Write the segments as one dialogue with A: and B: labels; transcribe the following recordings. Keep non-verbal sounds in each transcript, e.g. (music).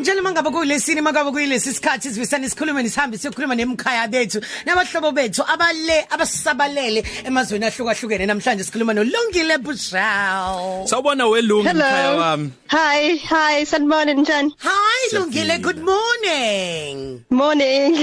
A: Njalo mangabe kuyilesini mangabe kuyilesi sikhathi sivisana isikhulume nisihambe siyokhuluma nemkhaya bethu nabahlobo bethu abale abasabalele emazweni ahlukahlukene namhlanje sikhuluma noLungile Bushel.
B: Sawubona welungu mkhaya wami.
C: Hi, hi, sanibona njani?
A: Hi
B: Siyaphila.
A: Lungile, good morning.
C: Morning.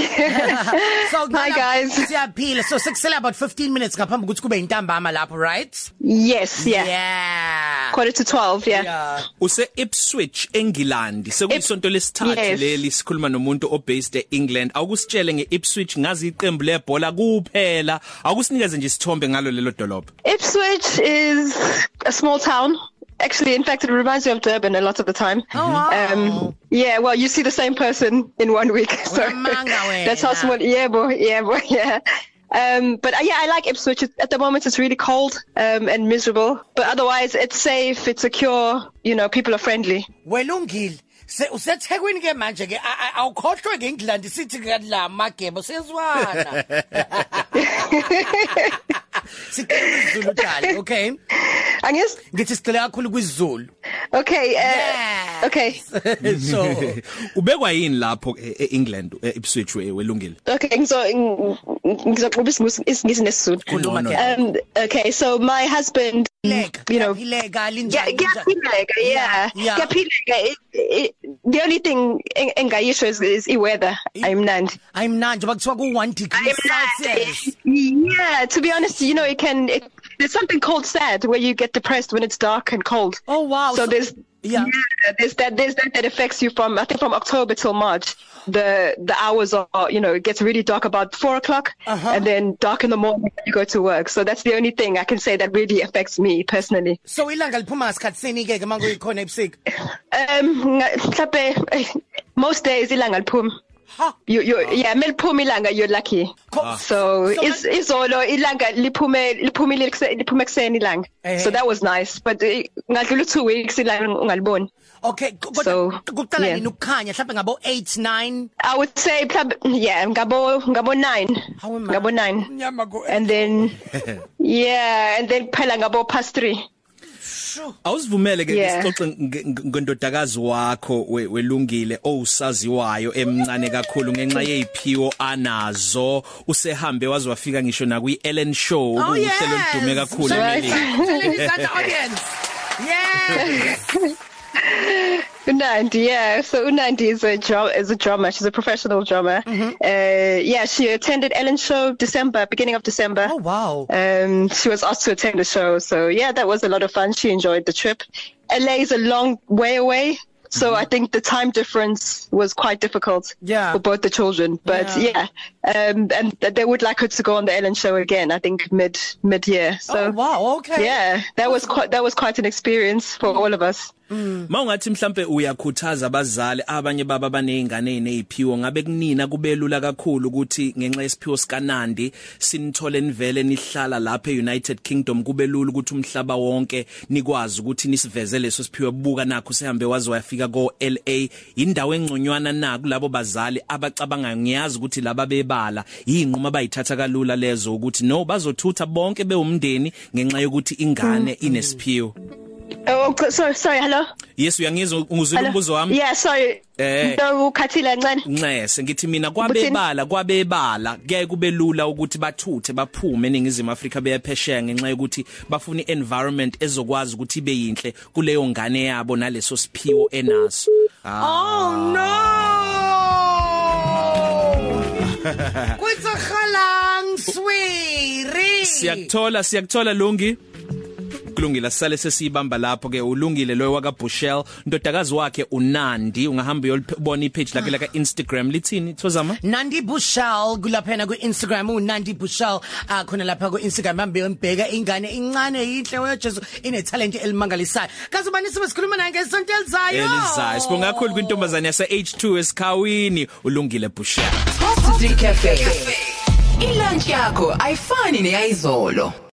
A: So
C: hi guys.
A: Siyaphila. So sekusela about 15 minutes ngaphambi ukuthi kube intambama lapho, right?
C: Yes, yeah.
A: Yeah.
C: Quarter to 12, yeah.
A: Yeah.
B: Use Ipswich eNgilandi sekuyisonto lesithathu
C: Yes.
B: leli sikhuluma nomuntu obased eEngland awukusitshele ngeIpswich ngazi iqembu lebhola kuphela awukusinikeze nje isithombe ngalo lelo dolopha
C: Ipswich is a small town. Actually, in fact, it reminds me of Durban a lot of the time.
A: Oh, wow.
C: Um, yeah, well, you see the same person in one week. (laughs) So
A: Uyamanga wena.
C: (laughs) that's how small. Yeah, boy. Yeah, boy. (laughs) Yeah. Um, but uh, yeah, I like Ipswich. It- At the moment, it's really cold um, and miserable. But otherwise, it's safe, it's secure. You know, people are friendly.
A: Welungile. Se usethekwini ke manje ke a- a- awukhohlwe ngeEngland sithi kanti la magebo sezwana. Sikhuluma isiZulu dali, okay?
C: I guess.
A: Ngithi sicela kakhulu kwisiZulu.
C: Okay. Uh,
A: Yes.
C: Okay.
B: (laughs)
A: So
B: ubekwa yini lapho e- eEngland eIpswich we- welungile
C: Okay, ngizo ng- ngizoxuba isingisi isingisi nesizulu.
A: khuluma
B: Ngcono.
A: ke.
C: Um okay, so my husband
A: Leka,
C: you know
A: leka
C: Yeah,
A: linjani? linjani?
C: ngiyaphileka, yeah.
A: Yeah.
C: Ngiyaphileka. It- it- The only thing eng- engayisho is, is e i-weather. Ayimnandi.
A: Ayimnandi bakuthiwa ku 1 degree Celsius.
C: Ayimnandi. Yeah, to be honest, you know, it can it, there's something called sad where you get depressed when it's dark and cold.
A: Oh wow.
C: So there's
A: yeah.
C: yeah. there's that there's that that affects you from I think from October till March. The the hours are you know it gets really dark about four o'clock
A: Uh-huh.
C: and then dark in the morning when you go to work. So that's the only thing I can say that really affects me personally.
A: So ilanga liphuma skatsini ke ke mangoyikhona ebusika.
C: Um, nga- mhlambe, eh, most days ilanga liphuma.
A: Ha.
C: You you yeah meliphuma ilanga you're lucky.
A: Co- Ah.
C: So
A: So
C: is izolo ilanga liphume liphumile ekuse- liphume ekseni ilanga.
A: Eh.
C: So that was nice but eh, ngadlula 2 weeks ilanga ungaliboni.
A: Okay, ku-
C: So,
A: kodwa kuqala
C: yeah.
A: nini ukukhanya mhlawumbe ngabo 8 9
C: I would say prob- yeah, ngabo ngabo 9.
A: Hawe ma.
C: Ngabo 9.
A: Mnyama ko-
C: And then yeah, and then phela ngabo past 3.
A: Sho.
B: awuzivumele ke
C: Yeah.
B: sixoxe nge- nge- ngendodakazi wakho we- welungile owusaziwayo emncane kakhulu ngenxa yeziphiwo anazo usehambe waze wafika ngisho na kwi-Ellen show
A: Oh, yes.
B: okuwuhlelo oludume kakhulu
A: Right.
B: eMelika
A: Telling us the audience. Yes.
C: Unandi, yeah. So Unandi is a drum is a drummer. She's a professional drummer. Uh yeah, she attended Ellen show December, beginning of December.
A: Oh wow.
C: Um, she was asked to attend the show, so yeah, that was a lot of fun. She enjoyed the trip. LA is a long way away, so I think the time difference was quite difficult
A: Mm-hmm. Yeah.
C: for both the children. But
A: Yeah.
C: yeah, um, and th- they would like her to go on the Ellen show again. I think mid mid year. (laughs) So
A: Oh wow, okay.
C: yeah, that was quite that was quite an experience
A: Mm-hmm.
C: for all of us.
B: Mawungathi mhlambe uyakhuthaza abazali abanye baba banezingane neziphiwo ngabe kunina kubelula kakhulu ukuthi ngenxa yesiphiwo sikaNandi sinithole nivele nihlala lapha eUnited Kingdom kubelula ukuthi umhlaba wonke nikwazi ukuthi nisiveze leso siphiwo buka nakho sehambe wazi wayafika ko LA indawo engconywana na kulabo bazali abacabanga ngiyazi ukuthi laba bebala inquma bayithatha kalula lezo ukuthi no bazothutha bonke bewumndeni ngenxa yokuthi ingane inesiphiwo
C: Oh, c- sorry, sorry. Hello.
B: Yes uyangizwa ngizwile
C: Hello?
B: umbuzo wami
C: Yeah, sorry.
B: Eh.
C: No, Katila Ncane.
B: Nxese ngithi mina kwabebala kwabebala ke kube lula ukuthi bathuthe baphume eningizimu Afrika beyaphesheya ngenxa yokuthi bafuna ienvironment ezokwazi ukuthi ibe yinhle kuleyo ngane yabo naleso siphiwo enaso
A: Oh no. Kwetsa khalang swiri.
B: Siyakuthola siyakuthola Lungi kulungile sisale sesiyibamba lapho ke ulungile loyo waka Bushell ndodakazi wakhe uNandi ungahamba uyolibona ipage lakhe la ka Instagram lithini Thozama
A: Nandi Bushel kulaphena ku Instagram u Nandi Bushel akhona lapha ku Instagram hambe yombheka ingane incane inhle wejesu ine talent elimangalisayo kaze ubani sibe sikhuluma naye ngesonto elizayo
B: elizayo sibonga kakhulu kwintombazane yase H2 esikhawini ulungile Bushell
D: Coffee Cafe. Ilunch yakho ayifani neyizolo.